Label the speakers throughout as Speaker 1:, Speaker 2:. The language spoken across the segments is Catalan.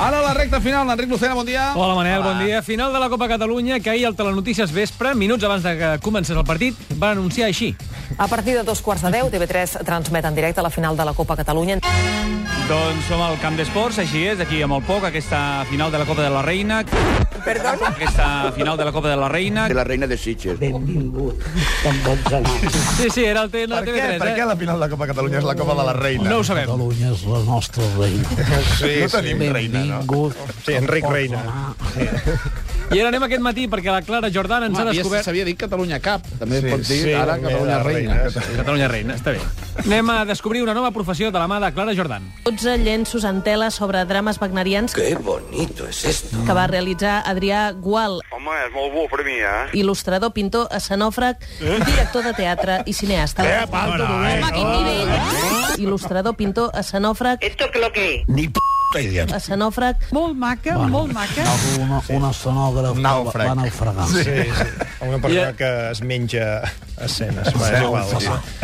Speaker 1: la recta final. Enric Lucena, bon dia.
Speaker 2: Hola, Manel, Hola. bon dia. Final de la Copa Catalunya, que ahir al Telenotícies Vespre, minuts abans de que comencés el partit, va anunciar així.
Speaker 3: A partir de dos quarts de deu, TV3 transmet en directe la final de la Copa Catalunya.
Speaker 4: Doncs som al Camp d'Esports, així és, aquí a molt poc, aquesta final de la Copa de la Reina.
Speaker 3: Perdona?
Speaker 4: Aquesta final de la Copa de la Reina.
Speaker 5: De la Reina de Sitges.
Speaker 6: Benvingut, com pots anar.
Speaker 2: Sí, sí, era el teu
Speaker 1: Per
Speaker 2: TV3,
Speaker 1: què? Per
Speaker 2: eh?
Speaker 1: què la final de Copa Catalunya és la Copa de la Reina?
Speaker 2: No ho sabem.
Speaker 6: Catalunya és la nostra reina.
Speaker 1: sí, no tenim reina, no?
Speaker 6: Benvingut.
Speaker 1: Sí, Enric Reina.
Speaker 2: I ara anem aquest matí perquè la Clara Jordana ens ha descobert...
Speaker 7: S'havia dit Catalunya Cap, també
Speaker 1: Sí,
Speaker 7: sí, pot dir
Speaker 1: sí,
Speaker 7: sí, ara
Speaker 1: també
Speaker 7: Catalunya
Speaker 1: la reina.
Speaker 7: Reina. reina.
Speaker 2: Catalunya Reina, està bé. Anem a descobrir una nova professió de la mà de Clara Jordan.
Speaker 8: 12 llenços en tela sobre drames wagnerians
Speaker 9: Qué bonito es esto.
Speaker 8: que va realitzar Adrià Gual,
Speaker 9: Home, és molt bo per mi, eh?
Speaker 8: il·lustrador, pintor, escenòfrag, director de teatre i cineasta. Eh,
Speaker 1: Bueno, eh?
Speaker 8: Il·lustrador, pintor, escenòfrag,
Speaker 6: Esto que lo que...
Speaker 5: Ni p*** idea.
Speaker 8: escenòfrag...
Speaker 10: Molt maca, molt maca.
Speaker 6: Una, un escenògraf que va,
Speaker 1: Nàufrag.
Speaker 6: va naufragar. Sí.
Speaker 7: Una persona que es menja escenes. Va, és igual.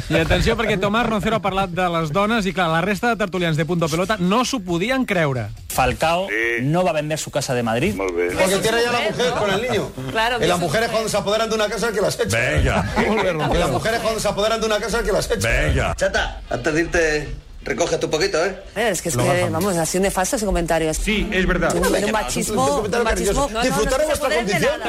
Speaker 7: Sí.
Speaker 2: I atenció, perquè Tomàs Roncero ha parlat de les dones i, clar, la resta de tertulians de Punto Pelota no s'ho podien creure.
Speaker 11: Falcao
Speaker 9: Sí.
Speaker 11: no va a vender su casa de Madrid.
Speaker 9: Molt bé.
Speaker 6: Porque tiene ya la mujer con el niño.
Speaker 3: Claro, que eso-
Speaker 6: mujeres cuando se apoderan de una casa que las echa.
Speaker 5: Venga,
Speaker 6: Las mujeres cuando se apoderan de una casa que las echa.
Speaker 5: venga.
Speaker 9: Chata, antes de irte, recoge tu poquito, ¿eh?
Speaker 3: Eh, Es que, es que vamos, ha sido nefasto ese comentario. Sí, es verdad. Un, un machismo, un machismo.
Speaker 6: Disfrutar de vuestra condición.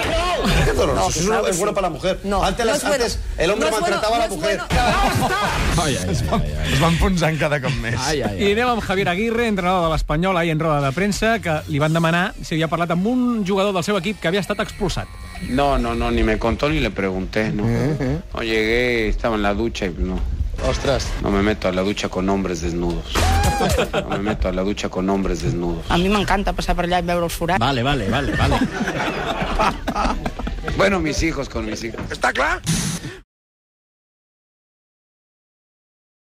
Speaker 6: Qué doloroso.
Speaker 3: No,
Speaker 6: Eso
Speaker 3: claro que
Speaker 6: es bueno
Speaker 3: sí.
Speaker 6: para la mujer.
Speaker 3: No,
Speaker 6: antes,
Speaker 3: no
Speaker 6: las-
Speaker 3: es bueno.
Speaker 6: antes el hombre
Speaker 3: No es bueno, ¡Ah,
Speaker 6: maltrataba a la
Speaker 3: no es
Speaker 6: mujer.
Speaker 3: bueno.
Speaker 1: Ai, ai, es, van, es van punzant cada cop més. Ai, ai.
Speaker 2: I anem amb Javier Aguirre, entrenador de l'Espanyol, ahir en roda de premsa, que li van demanar si havia parlat amb un jugador del seu equip que havia estat expulsat.
Speaker 11: No, no, no, ni me contó ni le pregunté, no. No llegué, estaba en la ducha y no.
Speaker 7: Ostres.
Speaker 11: No me meto a la ducha con hombres desnudos. No me meto a la ducha con hombres desnudos.
Speaker 10: A mi m'encanta passar per allà i veure els forats.
Speaker 11: Bueno, mis hijos con mis hijos.
Speaker 5: ¿Está claro?